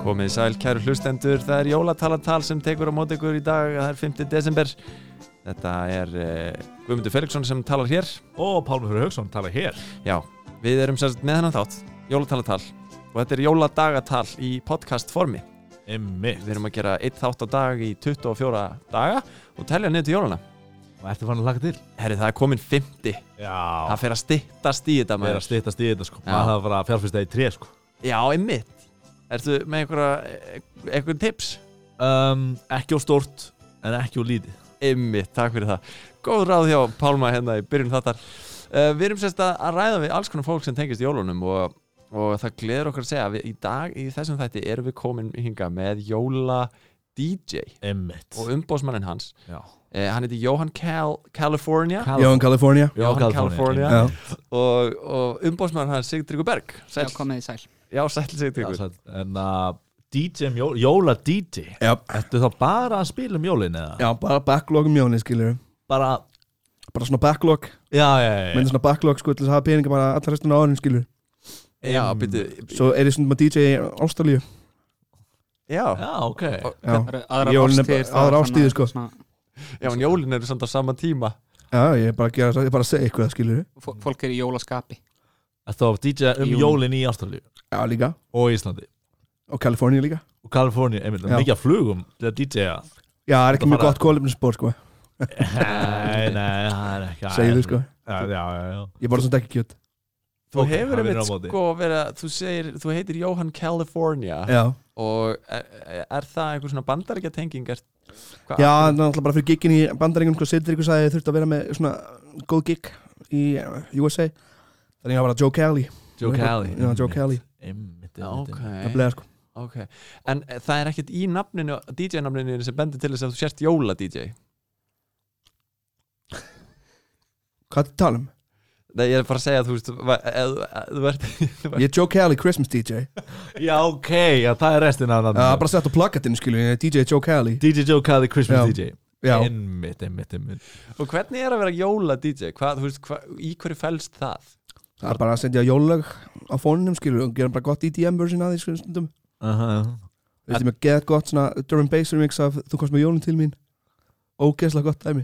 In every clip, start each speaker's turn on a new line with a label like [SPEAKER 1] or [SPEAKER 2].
[SPEAKER 1] Komið sæl, kæru hlustendur, það er jólatalatal sem tekur á móti ykkur í dag, það er 5. desember. Þetta er uh, Guðmundur Felixson sem talar hér.
[SPEAKER 2] Og Pálmur Fyrir Haugsson tala hér
[SPEAKER 1] Já, við erum sérst með hennan þátt, jólatalatal. Og þetta er jóladagatal í podcast formi.
[SPEAKER 2] Emmitt
[SPEAKER 1] Við erum að gera eitt þátt á dag í 24 daga og telja niður til jólana.
[SPEAKER 2] Og ertu fann að laga til?
[SPEAKER 1] Herri, það er komin 50.
[SPEAKER 2] Já
[SPEAKER 1] Það fer að styttast í þetta,
[SPEAKER 2] Það er
[SPEAKER 1] maður.
[SPEAKER 2] að stýttast í þetta sko
[SPEAKER 1] Já.
[SPEAKER 2] Það þarf að fara að fjárfyrsta í tré sko
[SPEAKER 1] Já, einmitt. Ertu með einhverja, einhverjum tips?
[SPEAKER 2] um, Ekki á stórt En ekki á lítið
[SPEAKER 1] Ymmið, takk fyrir það Góð ráð hjá Pálma hérna í byrjun þáttar uh, Við erum sérst að, að ræða við alls konar fólk sem tengist jólunum og, og það gleður okkar að segja að við, í dag í þessum þætti erum við komin hinga með jóla DJ
[SPEAKER 2] Emmitt
[SPEAKER 1] og umbósmannin hans
[SPEAKER 2] Já
[SPEAKER 1] uh, Hann heiti Johan Cal California
[SPEAKER 3] Jón California
[SPEAKER 1] Jóhann California.
[SPEAKER 3] Já.
[SPEAKER 1] og, og umbósmann hans Sigtryggur Berg
[SPEAKER 4] Já,
[SPEAKER 1] sæll,
[SPEAKER 4] komið í sæl
[SPEAKER 1] Já, sæll Sigtryggur
[SPEAKER 2] California En að DJ, um jól, jóla DJ
[SPEAKER 3] Já,
[SPEAKER 2] Ertu þá bara að spila um jólin eða?
[SPEAKER 3] já bara backlog um jóni skilur
[SPEAKER 2] Bara
[SPEAKER 3] Bara svona backlog,
[SPEAKER 2] Já, já, já,
[SPEAKER 3] myndi
[SPEAKER 2] já.
[SPEAKER 3] svona backlog sko til þess að hafa peninga bara allar restina á árinu skilur
[SPEAKER 1] Já, býttu
[SPEAKER 3] Svo er ég svona með DJ í Ástralíu
[SPEAKER 1] Já,
[SPEAKER 2] Já, ok
[SPEAKER 3] Já,
[SPEAKER 4] Það eru aðrar
[SPEAKER 3] Jólin er
[SPEAKER 4] árstíðir,
[SPEAKER 3] bara- aðrar
[SPEAKER 4] það er svona-
[SPEAKER 3] árstíðir, sko.
[SPEAKER 4] svona-
[SPEAKER 1] já, en jólin eru samt á sama tíma
[SPEAKER 3] já ég er bara að gera það, ég er bara að segja eitthvað skilur
[SPEAKER 4] fó- Fólk er í jólaskapi
[SPEAKER 2] Ertu þá að DJ um
[SPEAKER 4] Í jólin.
[SPEAKER 2] jólin í Ástralíu
[SPEAKER 3] Já líka,
[SPEAKER 2] Og Íslandi
[SPEAKER 3] og California líka
[SPEAKER 2] Og Kaliforni, Emmitt
[SPEAKER 3] Já.
[SPEAKER 2] Mikið að flugum til að DJ-a
[SPEAKER 3] Já, það er
[SPEAKER 2] Þetta
[SPEAKER 3] ekki mjög
[SPEAKER 2] bara-
[SPEAKER 3] gott kólefnisspor sko,
[SPEAKER 2] Nei, nei, það er ekki
[SPEAKER 3] segir þú sko
[SPEAKER 2] Já, já, já, já.
[SPEAKER 3] Ég borða svona ekki kjöt
[SPEAKER 1] Þú
[SPEAKER 2] Ok,
[SPEAKER 1] hefur
[SPEAKER 2] hann vinnur
[SPEAKER 1] einmitt
[SPEAKER 2] á móti.
[SPEAKER 1] sko verið að þú segir, þú heitir Jóhann California
[SPEAKER 3] Já,
[SPEAKER 1] og er, er það einhver svona bandaríkja tenging er, hva-
[SPEAKER 3] já það er náttúrulega bara fyrir giggin í bandaringum sko, Sittir ykkur sagði þurfti að vera með svona góð gig í eh, USA Þannig að ég var bara Joe Kelly
[SPEAKER 2] Joe Kelly
[SPEAKER 3] Já, Joe Kelly,
[SPEAKER 2] Einmitt,
[SPEAKER 1] Já,
[SPEAKER 2] einmitt, einmitt.
[SPEAKER 3] það
[SPEAKER 1] okay.
[SPEAKER 3] bleið sko
[SPEAKER 1] ok en eh, það er ekkert í nafninu DJ nafninu þínu sem bendir til þess að þú sért jóla DJ
[SPEAKER 3] Hvað er þetta tala um?
[SPEAKER 1] Nei, ég er bara að segja að þú veist va- eð- eð- þú ert
[SPEAKER 3] Ég er Joe Kelly Christmas DJ
[SPEAKER 2] Já, ok, já, það er restin af
[SPEAKER 3] Já,
[SPEAKER 2] nafnum
[SPEAKER 3] bara sett á plakatinu skilur, ég er DJ Joe Kelly
[SPEAKER 2] DJ Joe Kelly Christmas
[SPEAKER 3] Já.
[SPEAKER 2] DJ
[SPEAKER 3] Já,
[SPEAKER 2] Einmitt, einmitt, einmitt
[SPEAKER 1] og hvernig er að vera jóla DJ hvað, þú veist, hva, í hverju fælst það
[SPEAKER 3] það er bara að sendja jólag á fónunum skilur og gera bara gott EDM version að því skilur stundum
[SPEAKER 2] Aha.
[SPEAKER 3] Við veitum að geða gott svona Durham Bass remix af Þú komst með jólun til mín Ógeðslega gott dæmi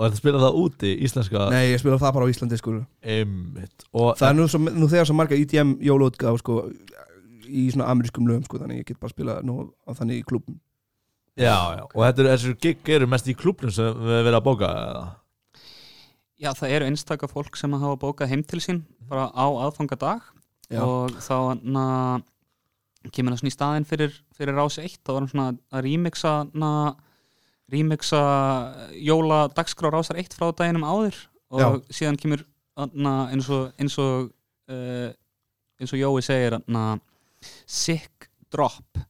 [SPEAKER 2] Og þetta spila það úti, íslenska
[SPEAKER 3] Nei, ég spila það bara á Íslandi skilur
[SPEAKER 2] Einmitt Og
[SPEAKER 3] Það er nú, svo, nú þegar svo marga E EDM jólótgáð sko í svona amerískum lögum sko þannig ég get bara spila nú á þannig í klubum
[SPEAKER 2] Já, já, og þetta eru, þessu gig eru mest í klubnum sem við hefur verið að bóka eða?
[SPEAKER 4] Já, það eru einstaka fólk sem hafa bókað heim til sín bara á aðfangadag
[SPEAKER 3] Já.
[SPEAKER 4] og þá na, kemur það svona í staðinn fyrir, fyrir rás 1 þá var hann svona að remixa na, remixa jóla dagskrá rásar 1 frá daginum áður og síðan kemur na, eins og eins og, uh, eins og Jói segir na, sick drop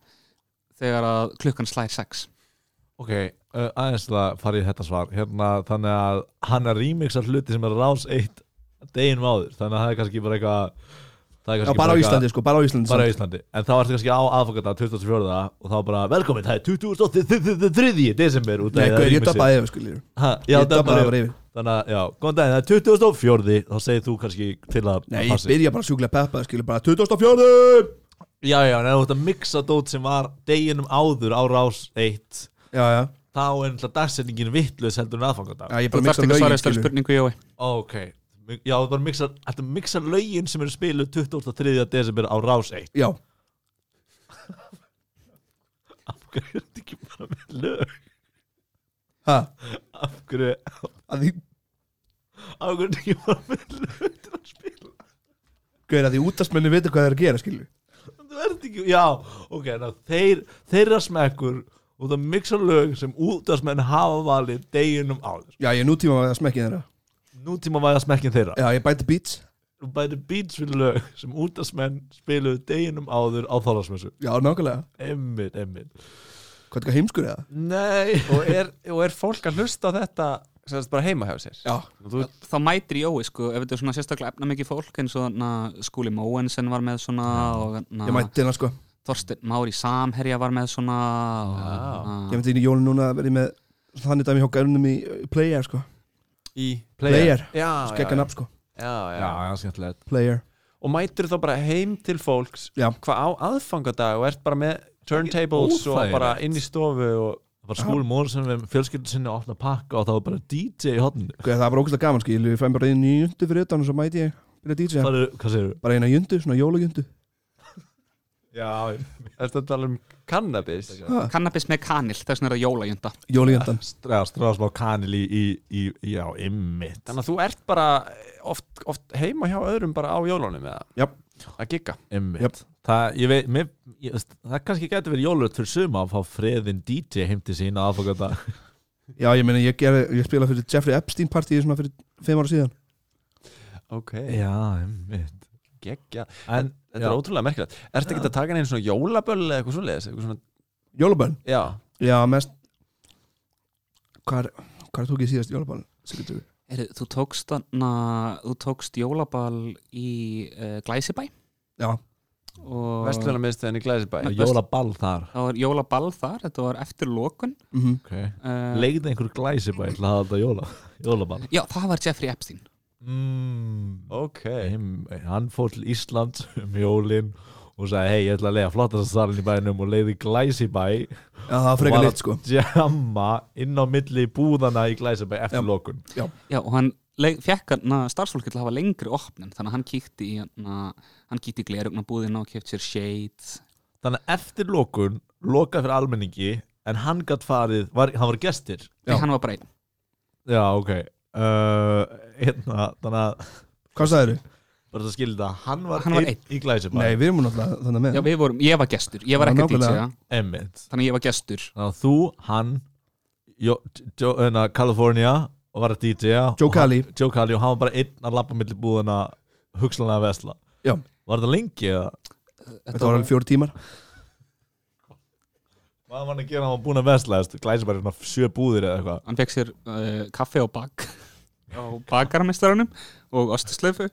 [SPEAKER 4] þegar að klukkan slær 6
[SPEAKER 2] Ok, uh, aðeins til að fara í þetta svar hérna, Þannig að hann er remixar hluti sem er rás eitt deginum áður Þannig að það er kannski bara eitthvað það er
[SPEAKER 3] Já,
[SPEAKER 2] kannski
[SPEAKER 3] bara á
[SPEAKER 2] eitthvað-
[SPEAKER 3] Íslandi sko, bara á Íslandi
[SPEAKER 2] bara á
[SPEAKER 3] samt.
[SPEAKER 2] Íslandi en þá varstu kannski á aðfokkata 2004 og þá bara velkomin, það er 23. desember út af
[SPEAKER 3] Nei,
[SPEAKER 2] það
[SPEAKER 3] gaur, ég
[SPEAKER 2] remixi.
[SPEAKER 3] dabbaði yfir skilur
[SPEAKER 2] Ha, já,
[SPEAKER 3] Ég dabbaði
[SPEAKER 2] dabbaði
[SPEAKER 3] bara
[SPEAKER 2] yfir.
[SPEAKER 3] yfir
[SPEAKER 2] þannig að, já, góðan daginn, það er 24. þá segir þú kannski til að
[SPEAKER 3] Nei, ég
[SPEAKER 2] passi.
[SPEAKER 3] byrja bara sjúklega peppaði skilur bara 2004
[SPEAKER 2] já, já, en ef þú ert að mixa dót sem var deginum áður á rás 1
[SPEAKER 3] Já, já
[SPEAKER 2] þá er náttúrulega dagsetningin vittlust heldur en aðfokkata
[SPEAKER 3] Já, ég
[SPEAKER 4] Þú
[SPEAKER 3] bara mixa
[SPEAKER 4] þarft ekki að svara
[SPEAKER 3] lögin
[SPEAKER 4] þessari
[SPEAKER 3] skilur
[SPEAKER 4] spurningu Jói
[SPEAKER 2] ok, já, þú bara mixa þetta mixa lögin sem eru spiluð 23. desember á rás 1
[SPEAKER 3] Já,
[SPEAKER 2] af hverju er þetta ekki bara með lög
[SPEAKER 3] ha,
[SPEAKER 2] af hverju,
[SPEAKER 3] að því
[SPEAKER 2] af hverju er þetta ekki bara með lög til að spila
[SPEAKER 3] Gauðir að því útastmenni vita hvað það er að gera, skilju
[SPEAKER 2] Þú ert ekki, já, ok, ná, þeir, þeirra smekkur út af miksa lög sem útastmenn hafa valið deginum áður.
[SPEAKER 3] Já, ég er nútíma að smekki þeirra
[SPEAKER 2] Nútíma væða smekkin þeirra.
[SPEAKER 3] Já, ég bæti beats
[SPEAKER 2] Þú bæti beats við lög sem útastmenn spiluðu deginum áður á þálasmessu.
[SPEAKER 3] Já, nákvæmlega
[SPEAKER 2] Emmitt, emmitt.
[SPEAKER 3] Hvað er það heimskur eða?
[SPEAKER 2] Nei.
[SPEAKER 1] og er, og er fólk að hlusta á þetta sem sagt bara heima hjá sér
[SPEAKER 3] Já,
[SPEAKER 1] Og þú,
[SPEAKER 4] þá mætir Jói sko ef þetta er svona sérstaklega efna mikið fólk eins og na, Skúli Móensen var með svona og na,
[SPEAKER 3] ég mæti hérna sko
[SPEAKER 4] Þorstein Mári Samherja var með svona og,
[SPEAKER 3] Ég
[SPEAKER 4] na,
[SPEAKER 3] myndi inn í jólin núna að verði með Þannig dæmi hjá gærunum í uh, player sko
[SPEAKER 1] í
[SPEAKER 3] Player,
[SPEAKER 1] já, já,
[SPEAKER 3] skekka
[SPEAKER 1] já,
[SPEAKER 3] nafn sko
[SPEAKER 1] já,
[SPEAKER 2] Já,
[SPEAKER 1] já.
[SPEAKER 2] það er skemmtilegt.
[SPEAKER 3] Player
[SPEAKER 1] og mætur þá bara heim til fólks
[SPEAKER 3] Já.
[SPEAKER 1] hvað á aðfangadag og ert bara með turntables og
[SPEAKER 2] Óþægilegt.
[SPEAKER 1] bara inn í stofu og
[SPEAKER 2] Það var skúli mór sem við fjölskyldu sinni að opna pakka og það var bara DJ í hodninu
[SPEAKER 3] Guð, það var ógæslega gaman skil, ég fæm bara einu jundu fyrir utan og svo mæti ég byrja að DJ
[SPEAKER 2] Það eru, hvað segir
[SPEAKER 3] bara eina jundu, svona jólajundu
[SPEAKER 2] Já,
[SPEAKER 1] ert að tala um cannabis
[SPEAKER 4] Cannabis með kanil, þess vegna er það jólajunda
[SPEAKER 3] jólajundan,
[SPEAKER 2] stræða stræða smá kanil í, í, í, já, ymmit
[SPEAKER 1] þannig að þú ert bara eh, oft, oft heima hjá öðrum bara á jólunum eða
[SPEAKER 3] já,
[SPEAKER 1] að gigga
[SPEAKER 2] ymmit
[SPEAKER 3] Jöp.
[SPEAKER 2] Það, ég veit, mér, ég, það kannski getur verið jólut fyrir suma að fá freðin DJ heim til sína aðfokata
[SPEAKER 3] já ég meina ég, gerði, ég spila fyrir Jeffrey Epstein partíi svona fyrir fimm ára síðan
[SPEAKER 1] ok,
[SPEAKER 2] Já, ymmit
[SPEAKER 1] geggja
[SPEAKER 2] En,
[SPEAKER 1] þetta er ótrúlega merkilegt, ert ekki að taka neina svona jólaböll eða eitthvað svoleiðis eitthvað svona,
[SPEAKER 3] jólabönn,
[SPEAKER 1] já,
[SPEAKER 3] já mest hvað er- hvað tók ég síðast jólabönn Sigurður?
[SPEAKER 4] Heru, Þú tókst, na, þú tókst jólaball í uh, Glæsibæ
[SPEAKER 3] já,
[SPEAKER 4] og
[SPEAKER 1] vestlunarmiðstöðin í Glæsibæ
[SPEAKER 4] Nei.
[SPEAKER 2] jólaball þar
[SPEAKER 4] það var jólaball þar, þetta var eftir lokun
[SPEAKER 3] mhm
[SPEAKER 2] okay.
[SPEAKER 4] uh,
[SPEAKER 2] Legði einhver glæsibæ til að hafa þetta jóla, jólaball
[SPEAKER 4] Já, það var Jeffrey Epstein
[SPEAKER 2] mm.
[SPEAKER 1] ok,
[SPEAKER 2] Him, Hann fór til Íslands um jólin og sagði, hei, ég ætla að lega flottast salin í bænum og leiði glæsibæ
[SPEAKER 3] já, það var frekar
[SPEAKER 2] Var
[SPEAKER 3] lit sko
[SPEAKER 2] jamma inn á milli búðana í Glæsabæ eftir
[SPEAKER 3] Já.
[SPEAKER 2] lokun
[SPEAKER 4] Já, og hann le- fekk na, starfsfólki til að hafa lengri opnun þannig að hann kíkti í, na, hann kíkti í glerugna búðina og kefti sér shades
[SPEAKER 2] þannig að eftir lokun lokaði fyrir almenningi en hann gatt farið, var, hann var gestir
[SPEAKER 3] Já.
[SPEAKER 4] Nei, hann var bara einn
[SPEAKER 2] já ok uh, hérna, þannig að
[SPEAKER 3] hvað sagðið þau?
[SPEAKER 2] bara það skilja það, hann var,
[SPEAKER 4] Hann var
[SPEAKER 2] einn í Glæsabæ
[SPEAKER 3] nei, við erum náttúrulega þannig
[SPEAKER 4] Já,
[SPEAKER 3] með
[SPEAKER 4] við vorum, ég var gestur, ég var
[SPEAKER 3] Já,
[SPEAKER 4] ekki að
[SPEAKER 3] nákvæmlega.
[SPEAKER 4] dýtja
[SPEAKER 2] einmitt
[SPEAKER 4] þannig að ég var gestur
[SPEAKER 2] þannig að þú, hann jo, jo, hérna, California og var að DJ -a
[SPEAKER 3] Joe
[SPEAKER 2] og hann-
[SPEAKER 3] Cali.
[SPEAKER 2] Joe Cali og hann var bara einn að lappa milli búðana hugsanlega að vesla
[SPEAKER 3] Já.
[SPEAKER 2] var þetta lengi eða?
[SPEAKER 3] þetta var alveg fjóri tímar
[SPEAKER 2] Hvað var hann að gera, hann var búin að vesla Glæsabæ er svona sjö búðir eða eitthvað
[SPEAKER 4] hann fekk sér uh, kaffe og bak á bakarmeistarunum og ostislöfu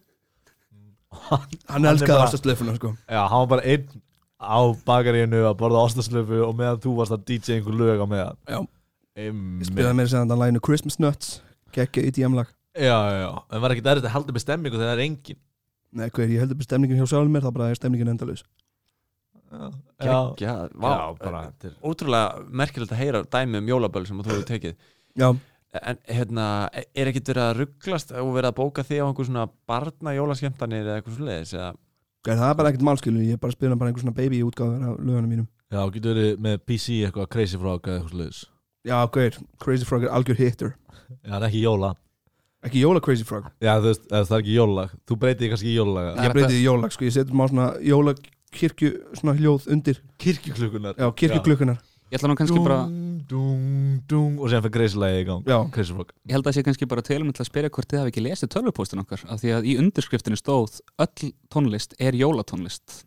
[SPEAKER 3] hann
[SPEAKER 2] er
[SPEAKER 3] elskaði
[SPEAKER 2] bara-
[SPEAKER 3] ástastlefuna sko
[SPEAKER 2] Já, hann var bara einn á bakaríinu að borða ostaslöfu og meðan þú varst að DJ einhver lög á meðan
[SPEAKER 3] Já. Ég spilaði
[SPEAKER 2] Einmitt.
[SPEAKER 3] meira sér þannig að læginu Christmas Nuts geggja í DM-lag
[SPEAKER 2] Já, já, já. en var ekki erfitt að halda með stemmingu þegar það er engin
[SPEAKER 3] Nei, hvað ég heldur bara stemningin hjá sjálfum mér, þá bara er stemningin endalaus
[SPEAKER 2] Já, já,
[SPEAKER 1] geggja, vá
[SPEAKER 2] já bara til...
[SPEAKER 1] ótrúlega merkilegt að heyra dæmi um jólaböll sem þú hefur tekið
[SPEAKER 3] Já,
[SPEAKER 1] En hérna, er ekkert verið að rugglast og verið að bóka þig á einhver svona barna jólaskemtanir eða eitthvað svoleiðis eða
[SPEAKER 3] Gæði, það er bara ekkert málskilu, ég er bara að spila bara einhver svona baby útgáður af lögunum mínum
[SPEAKER 2] já getur verið með PC eitthvað crazy frog eða eitthvað sluðis
[SPEAKER 3] Já, gauður, Crazy Frog er algjör hitter
[SPEAKER 2] Já, það er ekki jóla
[SPEAKER 3] Ekki jóla Crazy Frog,
[SPEAKER 2] Já, þú veist, eða það er ekki jólag Þú breytið kannski í jólag
[SPEAKER 4] Það er
[SPEAKER 3] ég breytið í jólag, sko, ég setur má svona jóla kirkju, svona hljóð undir
[SPEAKER 2] Kirkjuklukkunar
[SPEAKER 3] Já, kirkjuklukkunar,
[SPEAKER 4] ég held að hann kannski bara
[SPEAKER 2] Dung, dung, dung Og sem fyrir crazy lagi í gang
[SPEAKER 3] já,
[SPEAKER 2] Crazy frog
[SPEAKER 4] ég held að sé kannski bara tilum til að spyrja hvort þið hafi ekki lesið tölvupóstin okkar af því að í undirskriftinu stóð öll tónlist er jólatónlist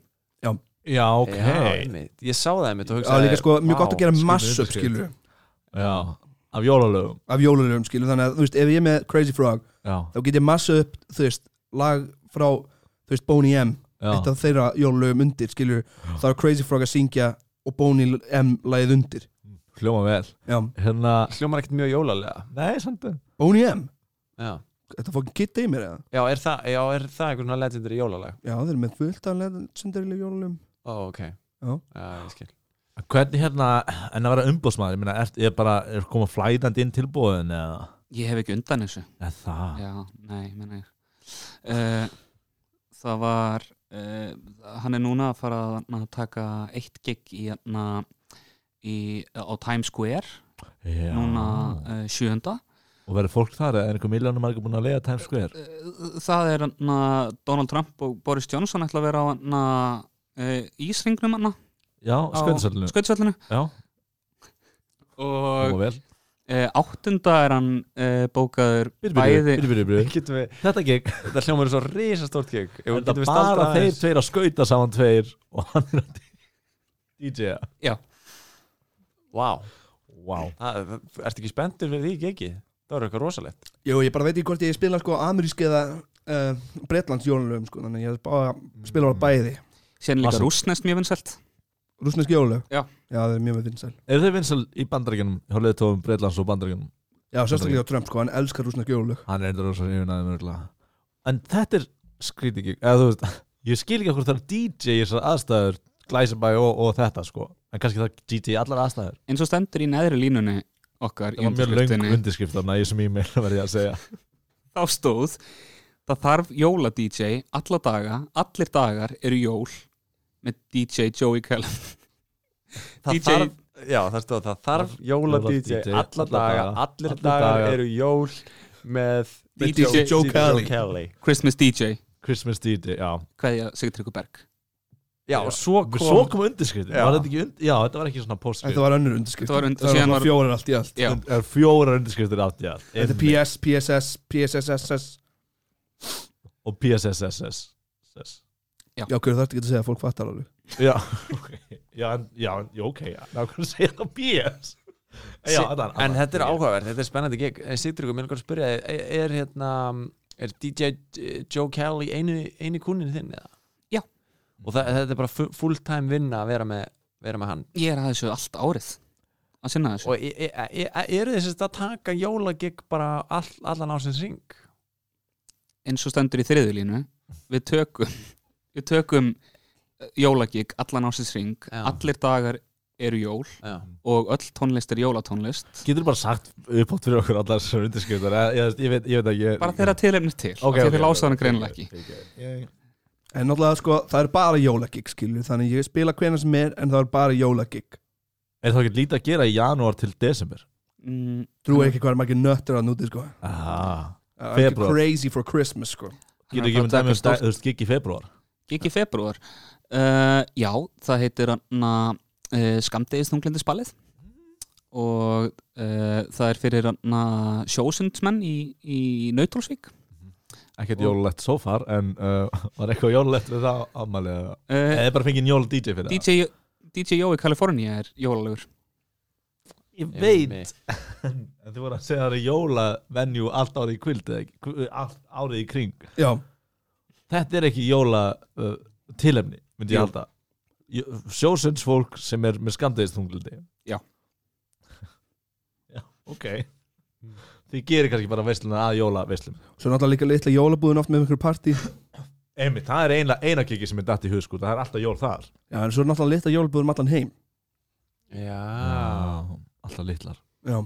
[SPEAKER 2] Já, ok
[SPEAKER 1] Já, einmitt. ég sá það einmitt og
[SPEAKER 3] já,
[SPEAKER 1] hugsaði
[SPEAKER 3] líka sko, mjög gott að gera
[SPEAKER 2] skrifa
[SPEAKER 3] massup,
[SPEAKER 2] undirskrift.
[SPEAKER 3] skilu
[SPEAKER 2] já. Af jólalögum
[SPEAKER 3] af jólalögum, skilu, þannig að, þú veist, ef ég er með Crazy Frog,
[SPEAKER 2] Já,
[SPEAKER 3] þá get ég massup, þú veist, lag frá, þú veist, Boney M
[SPEAKER 2] já
[SPEAKER 3] eitt af þeirra jólalögum undir, skilur þá er Crazy Frog að syngja og Boney M lagið undir
[SPEAKER 2] Hljóma vel
[SPEAKER 3] já.
[SPEAKER 2] Hérna
[SPEAKER 1] hljómar ekkert mjög jólalega
[SPEAKER 2] Nei, samt að
[SPEAKER 3] Boney M,
[SPEAKER 1] já.
[SPEAKER 3] þetta fókin kitta í mér eða
[SPEAKER 1] Já, er það, já, er það einhver svona legendary jólalega
[SPEAKER 3] já, þeir eru með fullt af legendarileg jólalögum
[SPEAKER 1] Ó, ok
[SPEAKER 3] Já.
[SPEAKER 1] já ég skil
[SPEAKER 2] Hvernig hérna, en að vera umbóðsmaður, ég meina, er, er bara, er koma flætandi inn tilbúðin eða,
[SPEAKER 4] ég hef ekki undan þessu
[SPEAKER 2] eða það?
[SPEAKER 4] já, nei, menna ég uh, það var uh, hann er núna að fara að na, taka eitt gig í, na, í á Times Square
[SPEAKER 2] Já.
[SPEAKER 4] núna uh, sjönda
[SPEAKER 2] Og verður fólk þar, eða er einhver miljónum margir búin að leiða Times Square?
[SPEAKER 4] Uh, það er na, Donald Trump og Boris Johnson ætla að vera á na, uh, ísringnum na,
[SPEAKER 2] Já,
[SPEAKER 4] á
[SPEAKER 2] sköndsallinu.
[SPEAKER 4] skautsvellinu
[SPEAKER 2] Já,
[SPEAKER 4] og
[SPEAKER 2] koma vel.
[SPEAKER 4] uh, áttunda er hann uh, bókaður
[SPEAKER 2] Byrju, byrju,
[SPEAKER 4] bæði
[SPEAKER 2] byrju, byrju, byrju.
[SPEAKER 1] Getum við,
[SPEAKER 2] Þetta gig,
[SPEAKER 1] þetta hljómar er svo risastórt kjökk Ef
[SPEAKER 2] þetta
[SPEAKER 1] getum við
[SPEAKER 2] bara
[SPEAKER 1] staldra
[SPEAKER 2] þeir
[SPEAKER 1] aðeins
[SPEAKER 2] tveir að skauta saman tveir og hann er að DJ-a.
[SPEAKER 1] Vá,
[SPEAKER 2] Vá.
[SPEAKER 1] það, það- ertu ekki spenntur fyrir því ekki? Það var eitthvað rosalegt
[SPEAKER 3] jú, ég bara veit ekki hvort ég spila sko amerísk eða uh, bretlands jólalögum sko, þannig að ég bara, spila
[SPEAKER 4] Mm.
[SPEAKER 3] bara bæði
[SPEAKER 4] sérna líka
[SPEAKER 2] Awesome.
[SPEAKER 4] rúsnest mjög vinsælt
[SPEAKER 3] rúsnesk jólalög,
[SPEAKER 4] Já.
[SPEAKER 3] það er mjög með vinsæl
[SPEAKER 2] Er þau vinsal í bandaríkjunum, hjá leðtóðum Breitlands og bandaríkjunum?
[SPEAKER 3] já, sérstaklega á Trump sko, hann elskar rúsnesk jólalög
[SPEAKER 2] Hann er endur rosa yfirnaðið mörgulega. En þetta er skrítikig, eða þú veist, ég skil ekki okkur þarf DJ í þessar aðstæður Glæsibæ og, og þetta sko en kannski það DJ í allar aðstæður
[SPEAKER 4] eins og stendur í neðri línunni okkar í
[SPEAKER 2] það var mjög löng
[SPEAKER 4] undirskriftinni
[SPEAKER 2] undirskriftana í þessum e-mail verði ég að segja
[SPEAKER 4] þá stóð það þarf jóla DJ alla daga, allir dagar eru jól með DJ Joey Callum
[SPEAKER 1] það
[SPEAKER 4] DJ
[SPEAKER 1] þarf, já, það stóð, það þarf jóla
[SPEAKER 2] Jóla
[SPEAKER 1] DJ,
[SPEAKER 2] DJ,
[SPEAKER 1] alla
[SPEAKER 2] alla
[SPEAKER 1] daga,
[SPEAKER 2] daga,
[SPEAKER 1] allir
[SPEAKER 2] alla
[SPEAKER 1] dagar
[SPEAKER 2] daga.
[SPEAKER 1] eru jól með
[SPEAKER 4] DJ
[SPEAKER 1] með
[SPEAKER 3] Joe Kelly.
[SPEAKER 4] Christmas DJ
[SPEAKER 2] Christmas DJ, já
[SPEAKER 4] hverja Sigtryggur Berg
[SPEAKER 1] Já, og svo kom,
[SPEAKER 2] Svo kom undirskriftin,
[SPEAKER 1] Já.
[SPEAKER 2] var þetta ekki und... Já, þetta var ekki svona postskrift
[SPEAKER 3] Þetta var önnur undirskrift
[SPEAKER 4] Þetta var und-
[SPEAKER 3] Það
[SPEAKER 4] síðan
[SPEAKER 3] var
[SPEAKER 4] var-
[SPEAKER 3] fjórar allt í allt
[SPEAKER 4] já,
[SPEAKER 2] Það er fjóra undirskriftir átt í allt
[SPEAKER 3] Þetta er
[SPEAKER 2] Einmitt.
[SPEAKER 3] PS, PSS, PSSSS
[SPEAKER 2] Og PSSSS Sess.
[SPEAKER 3] Já, hverju þarftu ekki að segja að fólk fattar alveg
[SPEAKER 2] Já, ok Já, en- já, en- já, ok, já, nákvæmlega segja það PS
[SPEAKER 1] Sí,
[SPEAKER 2] Já, þetta er
[SPEAKER 1] En
[SPEAKER 2] annað.
[SPEAKER 1] þetta er áhugaverð, þetta er spennandi gig Eh, Sigtryggur, mér langar að spyrja, þig, er, er hérna er DJ Joe Kelly einu, einu kúnin þinn eða?
[SPEAKER 4] Já.
[SPEAKER 1] Og það, þetta er bara fu- full time vinna að vera með, vera með hann
[SPEAKER 4] ég er að þessu allt árið að sinna þessu
[SPEAKER 1] Og e- e- e- e- eru þess að taka jólagig bara all, allan ásins ring?
[SPEAKER 4] eins og stendur í þriðulínu við tökum við tökum eh, jólagig allan ásins ring,
[SPEAKER 1] Já.
[SPEAKER 4] allir dagar eru jól
[SPEAKER 1] Já,
[SPEAKER 4] og öll tónlist er jólatónlist
[SPEAKER 2] Getur bara sagt uppátt fyrir okkur allar þessar undirskriftar Ég, ég, ég, veit, ég veit ekki ég-
[SPEAKER 4] bara þeirra tilefnir til,
[SPEAKER 2] Ok,
[SPEAKER 4] okay,
[SPEAKER 2] ok,
[SPEAKER 4] þegar okay, þið lása
[SPEAKER 2] ok,
[SPEAKER 4] hana
[SPEAKER 2] ok,
[SPEAKER 4] greinlega ekki
[SPEAKER 2] ok, ok. Ég-
[SPEAKER 3] En náttúrulega sko, það er bara jólagig skilju Þannig ég spila hvena sem er en það er bara jólagig
[SPEAKER 2] Er þá ekki lítið að gera í janúar til desember?
[SPEAKER 4] mm,
[SPEAKER 3] Trú ekki hvað er margir nöttur að núti sko
[SPEAKER 2] Ah,
[SPEAKER 3] Það er ekki
[SPEAKER 2] Febrúar.
[SPEAKER 3] crazy for Christmas sko
[SPEAKER 2] getur ekki
[SPEAKER 4] bara
[SPEAKER 2] um dæmi um
[SPEAKER 4] hérna taka
[SPEAKER 2] stað-
[SPEAKER 4] stórt-
[SPEAKER 2] þú veist gig í februar
[SPEAKER 4] gig í februar uh, já, það heitir anna, uh, skamdegisþunglindisballið og uh, það er fyrir anna, sjósundsmenn í, í Nautrólsvík
[SPEAKER 2] Ekkert jólulegt so far En uh, var eitthvað jólulegt við það afmælið eða-
[SPEAKER 4] uh,
[SPEAKER 2] Eða bara fengið jól DJ fyrir það
[SPEAKER 4] DJ, DJ Jói Kalifornia er jólalegur
[SPEAKER 2] Ég
[SPEAKER 1] Einmitt.
[SPEAKER 2] En þið voru að segja að það er jólavenju allt árið í kvild eða ekki? Kv- Allt árið í kring
[SPEAKER 3] Já,
[SPEAKER 2] Þetta er ekki jóla uh, tilefni myndi ég
[SPEAKER 4] Jú.
[SPEAKER 2] halda Sjósins fólk sem er með skamdegistunglindi
[SPEAKER 4] Já.
[SPEAKER 2] Já, ok Þið gerir kannski bara veisluna að jóla veislum
[SPEAKER 3] svo er náttúrulega líka litla jólabúðin oft með einhverju partí
[SPEAKER 2] Einmitt, það er eina, eina kiki sem er datt í hug sko, það er alltaf jól þar
[SPEAKER 3] Já, en svo er náttúrulega litla jólabúðin um allan heim
[SPEAKER 1] Já.
[SPEAKER 2] Alltaf litlar
[SPEAKER 3] Já,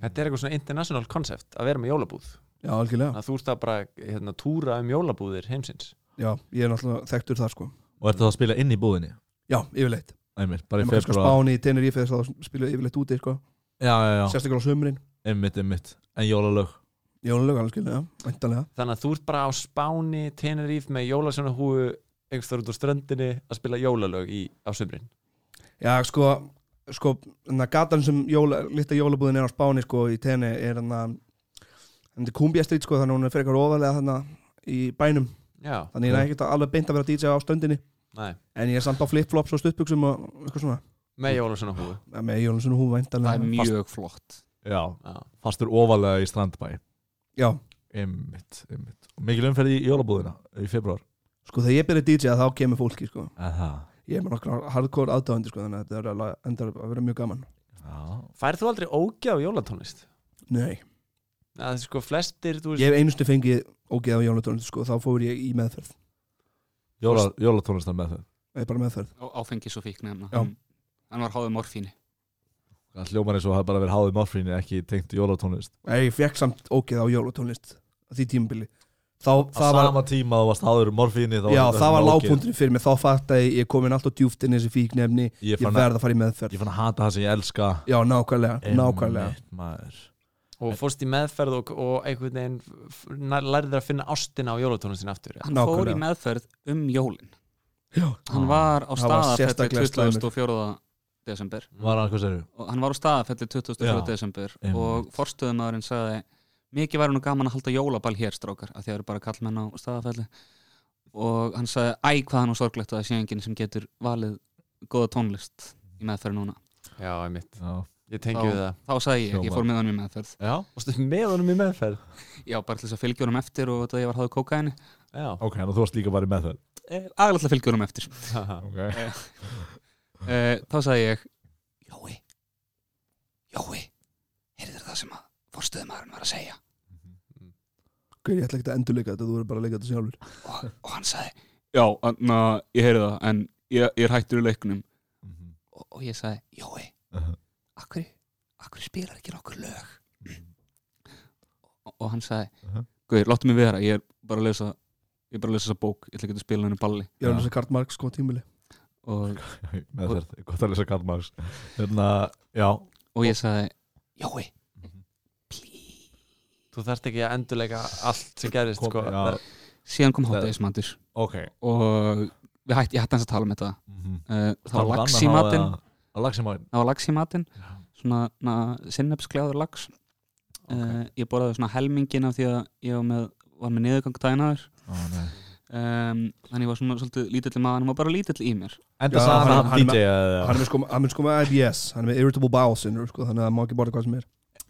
[SPEAKER 1] Þetta er eitthvað svona international concept að vera með jólabúð
[SPEAKER 3] já, algjörlega
[SPEAKER 1] að þú ert að bara hérna, túra um jólabúðir heimsins
[SPEAKER 3] Já, ég er náttúrulega þekktur þar sko
[SPEAKER 2] Og ertu það að spila inn í búðinni?
[SPEAKER 3] Já, yfirleitt
[SPEAKER 2] Einmitt, bara í
[SPEAKER 3] Ef maður kannski á
[SPEAKER 2] februar
[SPEAKER 3] Spáni, Tenerife þess að spila yfirleitt úti sko
[SPEAKER 2] Já, já, já,
[SPEAKER 3] Sérstaklega á sömurinn
[SPEAKER 2] einmitt, einmitt En jólalög
[SPEAKER 3] Jólalög algjörlega, væntanlega
[SPEAKER 1] þannig að þú ert bara á Spáni, Teneríf með jólasjónahúu einhvers þar út á ströndinni að spila jólalög í, á sömrin
[SPEAKER 3] Já, sko, sko na, gatan sem jóla, litla jólabúðin er á Spáni sko, í Tene er hann að hann er Kumbia Street sko, þannig að hún er frekar ofalega þannig í bænum,
[SPEAKER 1] Já,
[SPEAKER 3] þannig ég er ekkert alveg beint að vera DJ á stöndinni,
[SPEAKER 1] nei,
[SPEAKER 3] en ég er samt á flipflops og stuttbuxum og eitthvað svona
[SPEAKER 1] með jólasjónahúu
[SPEAKER 3] Ja, með Jólun svona húf
[SPEAKER 4] það er
[SPEAKER 3] væntanlega
[SPEAKER 4] mjög flott
[SPEAKER 2] Já,
[SPEAKER 1] Já,
[SPEAKER 2] fastur ofalega í strandbæ
[SPEAKER 3] Já,
[SPEAKER 2] Einmitt, einmitt Og Mikil umferð í jólabúðina í februar
[SPEAKER 3] sko þegar ég byrja DJ þá kemur fólki sko,
[SPEAKER 2] Aha.
[SPEAKER 3] ég er með nokkra hardcore aðdáðandi sko, þannig að þetta er að la- endar að vera mjög gaman
[SPEAKER 2] Já,
[SPEAKER 1] færð þú aldrei ógja á jólatónlist?
[SPEAKER 3] Nei,
[SPEAKER 1] Það er sko flestir, þú veist
[SPEAKER 3] ég hef einustu fengið ógeð á jólatónlist sko, þá fór ég í meðferð
[SPEAKER 2] Jóla, jólatónlistar með þau
[SPEAKER 3] eða bara meðferð,
[SPEAKER 4] Á- áfengis og fíknefna
[SPEAKER 3] Já.
[SPEAKER 4] hann hann var háðið morfíni
[SPEAKER 2] Það hljómar eins og hafa bara verið háðið morfrínu ekki tengt jólatónlist
[SPEAKER 3] Nei, ég fekk samt ógeð á jólatónlist á því tímabili þá,
[SPEAKER 2] Á
[SPEAKER 3] það var,
[SPEAKER 2] sama tíma þú varst háður morfrínu þá var
[SPEAKER 3] já,
[SPEAKER 2] þetta
[SPEAKER 3] það var
[SPEAKER 2] svona ógeð.
[SPEAKER 3] lágpundurinn fyrir mig þá fatt að ég kom inn allt á djúft inn í þessi fíknefni,
[SPEAKER 2] Ég
[SPEAKER 3] ég
[SPEAKER 2] fann að,
[SPEAKER 3] verð að fara í meðferð
[SPEAKER 2] ég fann að hata það sem ég elska
[SPEAKER 3] Já, nákvæmlega, nákvæmlega
[SPEAKER 2] Einmitt, maður.
[SPEAKER 1] og fórst í meðferð og, og einhvern veginn f- nær- lærðir að finna ástina á jólatónlistin aftur ja.
[SPEAKER 4] hann fór
[SPEAKER 3] Nákvæmlega.
[SPEAKER 4] í meðferð um jólin
[SPEAKER 3] Já,
[SPEAKER 4] hann
[SPEAKER 2] Ah.
[SPEAKER 4] var á
[SPEAKER 3] Það var
[SPEAKER 4] staðafelli
[SPEAKER 3] sérstaklega slæmur.
[SPEAKER 4] 24. desember
[SPEAKER 2] Var hann, hvað segir
[SPEAKER 4] og hann var á staðafelli 24.
[SPEAKER 2] Já,
[SPEAKER 4] desember
[SPEAKER 2] einmitt.
[SPEAKER 4] og forstöðumæðurinn sagði mikið væri nú gaman að halda jólaball hér strákar af því að það eru bara kallmenn á staðafelli og hann sagði æ hvað hann og sorglegt að það sé enginn sem getur valið góða tónlist í meðferð núna
[SPEAKER 1] Já, einmitt,
[SPEAKER 2] Já,
[SPEAKER 1] ég tengi við það
[SPEAKER 4] þá sagði ég, ég fór með hann í meðferð
[SPEAKER 2] já.
[SPEAKER 1] Fórstu með honum í meðferð?
[SPEAKER 4] já bara til þess að fylgja honum eftir og þetta að ég var háðið kókaini
[SPEAKER 1] Já,
[SPEAKER 2] Ok, en þú varst líka bara með þau
[SPEAKER 4] aðlega til að fylgja honum eftir
[SPEAKER 1] haha.
[SPEAKER 2] okay.
[SPEAKER 4] uh, þá sagði ég Jói Jói, heyrðu það sem að forstöðumæðurinn var að segja
[SPEAKER 2] Mhm,
[SPEAKER 3] Guð, ég ætla ekki að endurleika þetta, þú verður bara að leika þetta sjálfur
[SPEAKER 4] og, og hann sagði já, na, ég heyri það en ég, ég er hættur í leiknum
[SPEAKER 2] Mhm.
[SPEAKER 4] og, og ég sagði, Jói
[SPEAKER 2] Mhm.
[SPEAKER 4] akkur, akkur spilar ekki nokkur lög og, og hann sagði
[SPEAKER 2] Mhm.
[SPEAKER 4] Guður, láttu mig vera, ég er bara að lesa ég er bara að lesa þessa bók, ég ætla ekki að spila henni balli
[SPEAKER 3] ég er alveg sem Karl Marx sko tímili
[SPEAKER 4] og,
[SPEAKER 2] með þér, gott að lesa Karl Marx hérna, já
[SPEAKER 4] og ég sagði Jói,
[SPEAKER 2] Mhm.
[SPEAKER 4] please
[SPEAKER 1] þú þarft ekki að endurleika allt sem gerist
[SPEAKER 2] Kom-
[SPEAKER 1] sko.
[SPEAKER 2] já.
[SPEAKER 4] síðan kom
[SPEAKER 2] Það-
[SPEAKER 4] hátægismatur
[SPEAKER 2] ok
[SPEAKER 4] og við hætti, ég hætti hans að tala um þetta
[SPEAKER 2] Mhm.
[SPEAKER 4] uh, það
[SPEAKER 2] Talandi
[SPEAKER 4] var lax
[SPEAKER 2] annað
[SPEAKER 4] í
[SPEAKER 2] þá
[SPEAKER 4] matinn
[SPEAKER 2] eða- að lax í matinn
[SPEAKER 4] það var lax í matinn
[SPEAKER 2] Já.
[SPEAKER 4] svona na, sinnepskljáður lax
[SPEAKER 2] Ok.
[SPEAKER 4] uh, ég borðaði svona helmingin af því að ég var með, var með niðurgang dænaður
[SPEAKER 2] Ó, nei.
[SPEAKER 4] um, þannig ég var svona svolítið lítill í maður hann var bara lítill í mér
[SPEAKER 2] enda
[SPEAKER 3] Já,
[SPEAKER 2] sagði
[SPEAKER 3] hann-
[SPEAKER 2] hann
[SPEAKER 3] hann er
[SPEAKER 2] að
[SPEAKER 3] með-
[SPEAKER 2] DJ
[SPEAKER 3] hann er með sko, hann er sko með IBS, hann er með irritable bowel syndrome sko, þannig að hann má ekki borða hvað sem er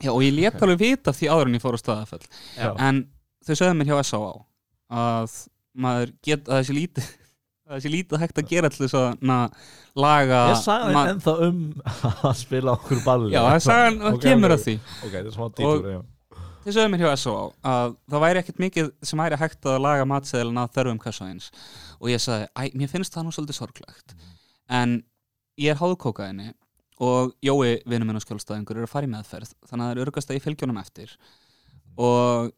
[SPEAKER 4] Já, og ég let
[SPEAKER 1] Ok.
[SPEAKER 4] alveg vita af því áður en ég fór á staðafell
[SPEAKER 1] Já.
[SPEAKER 4] en þau sögðu mér hjá SÁA að maður get að þessi lítið að þessi lítið hægt að gera allir svo na, laga
[SPEAKER 2] ég sagði
[SPEAKER 4] ma-
[SPEAKER 2] hann ennþá um að spila okkur balli
[SPEAKER 4] Já, það sagði hann
[SPEAKER 2] Ok,
[SPEAKER 4] kemur
[SPEAKER 2] ok.
[SPEAKER 4] að því
[SPEAKER 2] ok, það er smá dítur já.
[SPEAKER 4] Þið sögðu mér hjá S.O. að það væri ekkert mikið sem væri hægt að laga matseðilin að þörfum kassaðins og ég sagði, æ, mér finnst það nú svolítið sorglegt en ég er háðkókaðinni og Jói, vinur minn og skjólstæðingur eru að fara í meðferð þannig að það er örgast að ég fylgjónum eftir og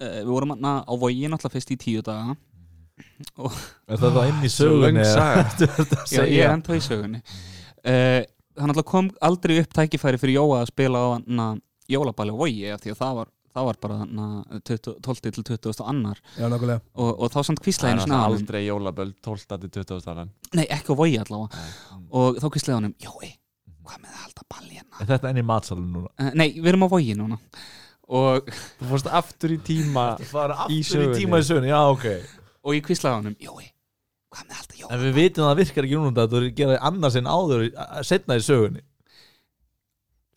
[SPEAKER 4] e, við vorum na, á vogi náttúrulega fyrst í tíu daga
[SPEAKER 2] er það þá
[SPEAKER 4] Ah,
[SPEAKER 2] inn í
[SPEAKER 1] Svo löng
[SPEAKER 2] sögunni eða?
[SPEAKER 1] saga.
[SPEAKER 2] Ertu að
[SPEAKER 4] Já, ég er
[SPEAKER 2] segja?
[SPEAKER 4] enda í sögunni uh, Hann alltaf kom aldrei upp tækifæri fyrir Jóa að spila á na, jólaballi á vogi af því að það var, það var bara na, 20, 12 til 20 annar
[SPEAKER 3] já, nákvæmlega
[SPEAKER 4] og, og þá samt
[SPEAKER 1] það
[SPEAKER 4] kvíslaði
[SPEAKER 1] er
[SPEAKER 4] henni svona
[SPEAKER 1] náttúrulega
[SPEAKER 4] á honum
[SPEAKER 1] aldrei jólaböld 12. til 20. allan
[SPEAKER 4] Nei, ekki á vogi allavega og þá kvíslaði honum, jói,
[SPEAKER 1] Mhm.
[SPEAKER 4] hvað með að halda balli hérna?
[SPEAKER 2] Er þetta enn í matsalum núna
[SPEAKER 4] Uh, nei, við erum á vogi núna og,
[SPEAKER 1] þú fórst aftur í tíma
[SPEAKER 2] það er aftur
[SPEAKER 1] Í
[SPEAKER 2] í,
[SPEAKER 1] sögunni.
[SPEAKER 2] tíma í sögunni já, ok
[SPEAKER 4] og ég kvíslaði honum, jói, hvað með að halda jói?
[SPEAKER 2] en við vitum að það virkar ekki núna það þú gerir annars en áður setna í sögunni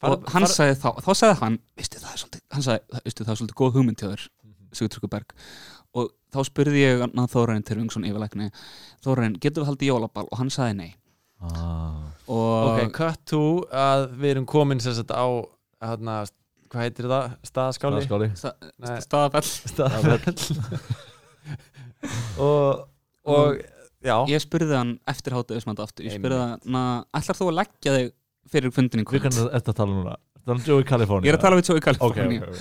[SPEAKER 1] Fara-
[SPEAKER 4] og hann
[SPEAKER 1] fara-
[SPEAKER 4] sagði þá, þá sagði hann, veistu það er svolítið, hann sagði, veistu það er svolítið góð hugmynd hjá þér,
[SPEAKER 1] Mhm.
[SPEAKER 4] Sigurtrygguberg og þá spurði ég hann að Þórarinn Tyrfingsson yfirleikni, Þórarinn, getum við haldið jólaball og hann sagði nei
[SPEAKER 2] ah.
[SPEAKER 4] og
[SPEAKER 1] ok, cut to að við erum komin sem sagt á hérna, hvað heitir það, staðaskáli
[SPEAKER 2] skáli
[SPEAKER 1] Nei,
[SPEAKER 4] staðafell,
[SPEAKER 1] og, og já,
[SPEAKER 4] ég spurði hann eftir hátuðismand aftur, ég spurði
[SPEAKER 1] Einmitt.
[SPEAKER 4] hann, "Na, ætlar þú að leggja þig fyrir fundin í
[SPEAKER 2] Við
[SPEAKER 4] kvöld?
[SPEAKER 2] kannum eftir að tala núna Það er Joey California
[SPEAKER 4] Ég er að tala við Joey
[SPEAKER 2] Ok, ok,
[SPEAKER 4] California
[SPEAKER 2] ok.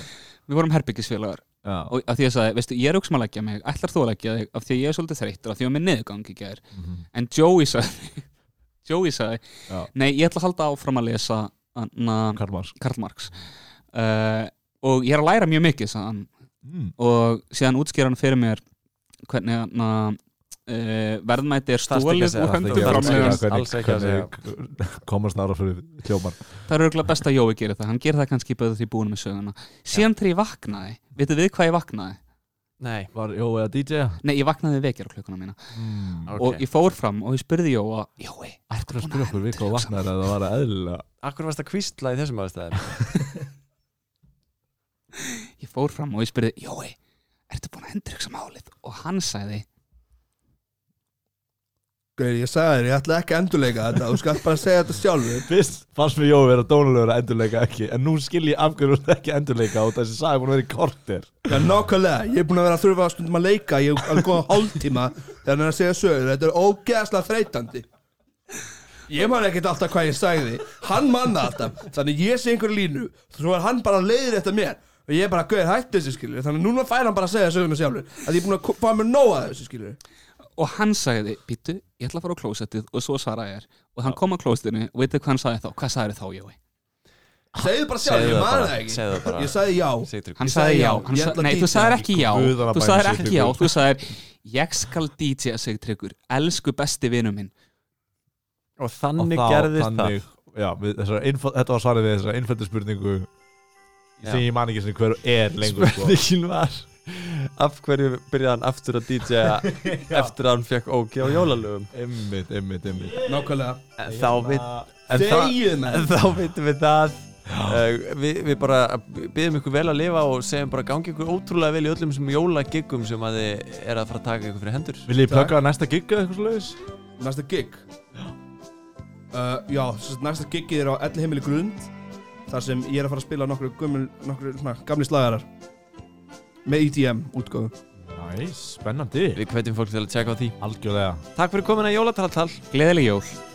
[SPEAKER 4] Við vorum herbyggisfélagar
[SPEAKER 2] Já.
[SPEAKER 4] og af því ég sagði, veistu, ég er auksum að leggja mig ætlar þú að leggja þig af því að ég er svolítið þreyttur af því að mér niðurgang í gær
[SPEAKER 2] Mhm.
[SPEAKER 4] en Joey sagði Joey sagði,
[SPEAKER 2] Já.
[SPEAKER 4] nei, ég ætla að halda áfram að lesa na,
[SPEAKER 2] Karl Marx
[SPEAKER 4] Karl Marx uh, og ég er að læra mjög mikið sagði hann.
[SPEAKER 2] mm.
[SPEAKER 4] og síðan útskýra hann fyrir mér hvernig na, uh, verðmæti er
[SPEAKER 1] Þarftu ekki að
[SPEAKER 4] stólið
[SPEAKER 1] segja
[SPEAKER 4] og
[SPEAKER 1] það, það
[SPEAKER 4] hendur
[SPEAKER 1] er ekki að segja
[SPEAKER 4] framlegans
[SPEAKER 1] það. alls ekki að
[SPEAKER 2] Komast nára fyrir hljómar
[SPEAKER 4] það er auðvitað best að Jói gerir það, hann gerir það kannski betur því búin með söguna síðan þegar ég vaknaði, vitið við hvað ég vaknaði?
[SPEAKER 1] nei
[SPEAKER 2] Var Jói að DJ
[SPEAKER 4] Nei, ég vaknaði vekjar á klukkuna mína
[SPEAKER 2] mm.
[SPEAKER 1] ok.
[SPEAKER 4] og ég fór fram og ég spurði Jóa Jói,
[SPEAKER 2] Akkur að spyrja okkur við hvað vaknar að það var að eðlilega
[SPEAKER 1] Akkur varst að kvísla í þessum aðstæðum
[SPEAKER 4] ég fór fram og ég spurði Jói, ertu búin að endur ykkur málið? og hann sagði,
[SPEAKER 3] Gauði, ég sagði þér, ég ætla ekki að endurleika þetta þú skalt bara segja þetta sjálfur
[SPEAKER 2] Fyrst fannst mér Jói vera dónulegur að endurleika ekki En nú skil ég af hverju hún ekki endurleika Og þessi sagði búin að vera í kortir
[SPEAKER 3] Já, nákvæmlega, ég er búin að vera að þurfa að stundum að leika ég er alveg góða hálftíma þegar hann er að segja sögur, þetta er ógeðslega þreytandi Ég man ekkert alltaf hvað ég sagði Hann manna alltaf Þannig ég sé einhver línu Svo er hann bara leiðir eftir mér Og ég er bara gauðir hætt þessu skilur Þannig núna fær hann bara að segja söguna sjálfur Að ég er búin að ko- fá mér nóa þessu skilur
[SPEAKER 4] og hann sagði, býttu, ég ætla að fara á klósettið og svo svaraði ég er, og hann kom á klósettinu og veitir hvað hann sagði þá, hvað sagði þá Jói?
[SPEAKER 3] Segðu bara sjálfur,
[SPEAKER 1] Segðu
[SPEAKER 3] ég
[SPEAKER 1] það
[SPEAKER 3] man
[SPEAKER 1] bara,
[SPEAKER 3] það ekki
[SPEAKER 1] segðu það bara.
[SPEAKER 3] Ég sagði já
[SPEAKER 1] Sigtryggur.
[SPEAKER 4] Hann
[SPEAKER 3] Ég
[SPEAKER 4] sagði
[SPEAKER 3] sagði
[SPEAKER 4] já,
[SPEAKER 3] já,
[SPEAKER 4] hann
[SPEAKER 3] ég
[SPEAKER 4] sagði,
[SPEAKER 3] ætla
[SPEAKER 4] nei,
[SPEAKER 3] að
[SPEAKER 4] þú
[SPEAKER 3] DJ.
[SPEAKER 4] sagðir ekki já,
[SPEAKER 2] Guðanna
[SPEAKER 4] þú
[SPEAKER 2] bænir
[SPEAKER 4] sagðir
[SPEAKER 2] sig,
[SPEAKER 4] ekki já,
[SPEAKER 2] Tryggur.
[SPEAKER 4] þú sagðir, ég skal DJ að segja tryggur, elsku besti vinnu minn.
[SPEAKER 1] og þannig
[SPEAKER 2] Og þá-
[SPEAKER 1] gerðist
[SPEAKER 2] þannig, það já, við, þessar, innfó, Þetta var svarið við þessar einföldu spurningu
[SPEAKER 1] Já.
[SPEAKER 2] Sem ég man ekki sinni hver er
[SPEAKER 1] það
[SPEAKER 2] lengur sko.
[SPEAKER 1] spurningin var af hverju byrjaði hann aftur að DJ eftir að hann fekk ógi á jólalögum
[SPEAKER 2] Einmitt, einmitt, einmitt
[SPEAKER 3] Nákvæmlega
[SPEAKER 1] þá, vit, en það,
[SPEAKER 3] Segðu
[SPEAKER 1] en
[SPEAKER 3] mér
[SPEAKER 1] þá vitum við það Uh, við, við bara byggjum ykkur vel að lifa og segjum bara gangi ykkur ótrúlega vel í öllum sem jólagiggum sem að þið er að fara að taka ykkur fyrir hendur
[SPEAKER 2] Vil ég plugga næsta gig eða eitthvað slags?
[SPEAKER 3] Næsta gig uh, Já, sem sagt, næsta gigið er á Elli heimili grund Þar sem ég er að fara E að spila nokkru, gömul, nokkru svona, gamli slagarar Með EDM útgóðu
[SPEAKER 2] Já, Nei, spennandi
[SPEAKER 1] Við hvetjum fólk til að tjekka á því
[SPEAKER 2] Algjörlega
[SPEAKER 1] Takk fyrir komin að Jólataltal
[SPEAKER 4] Gleðileg jól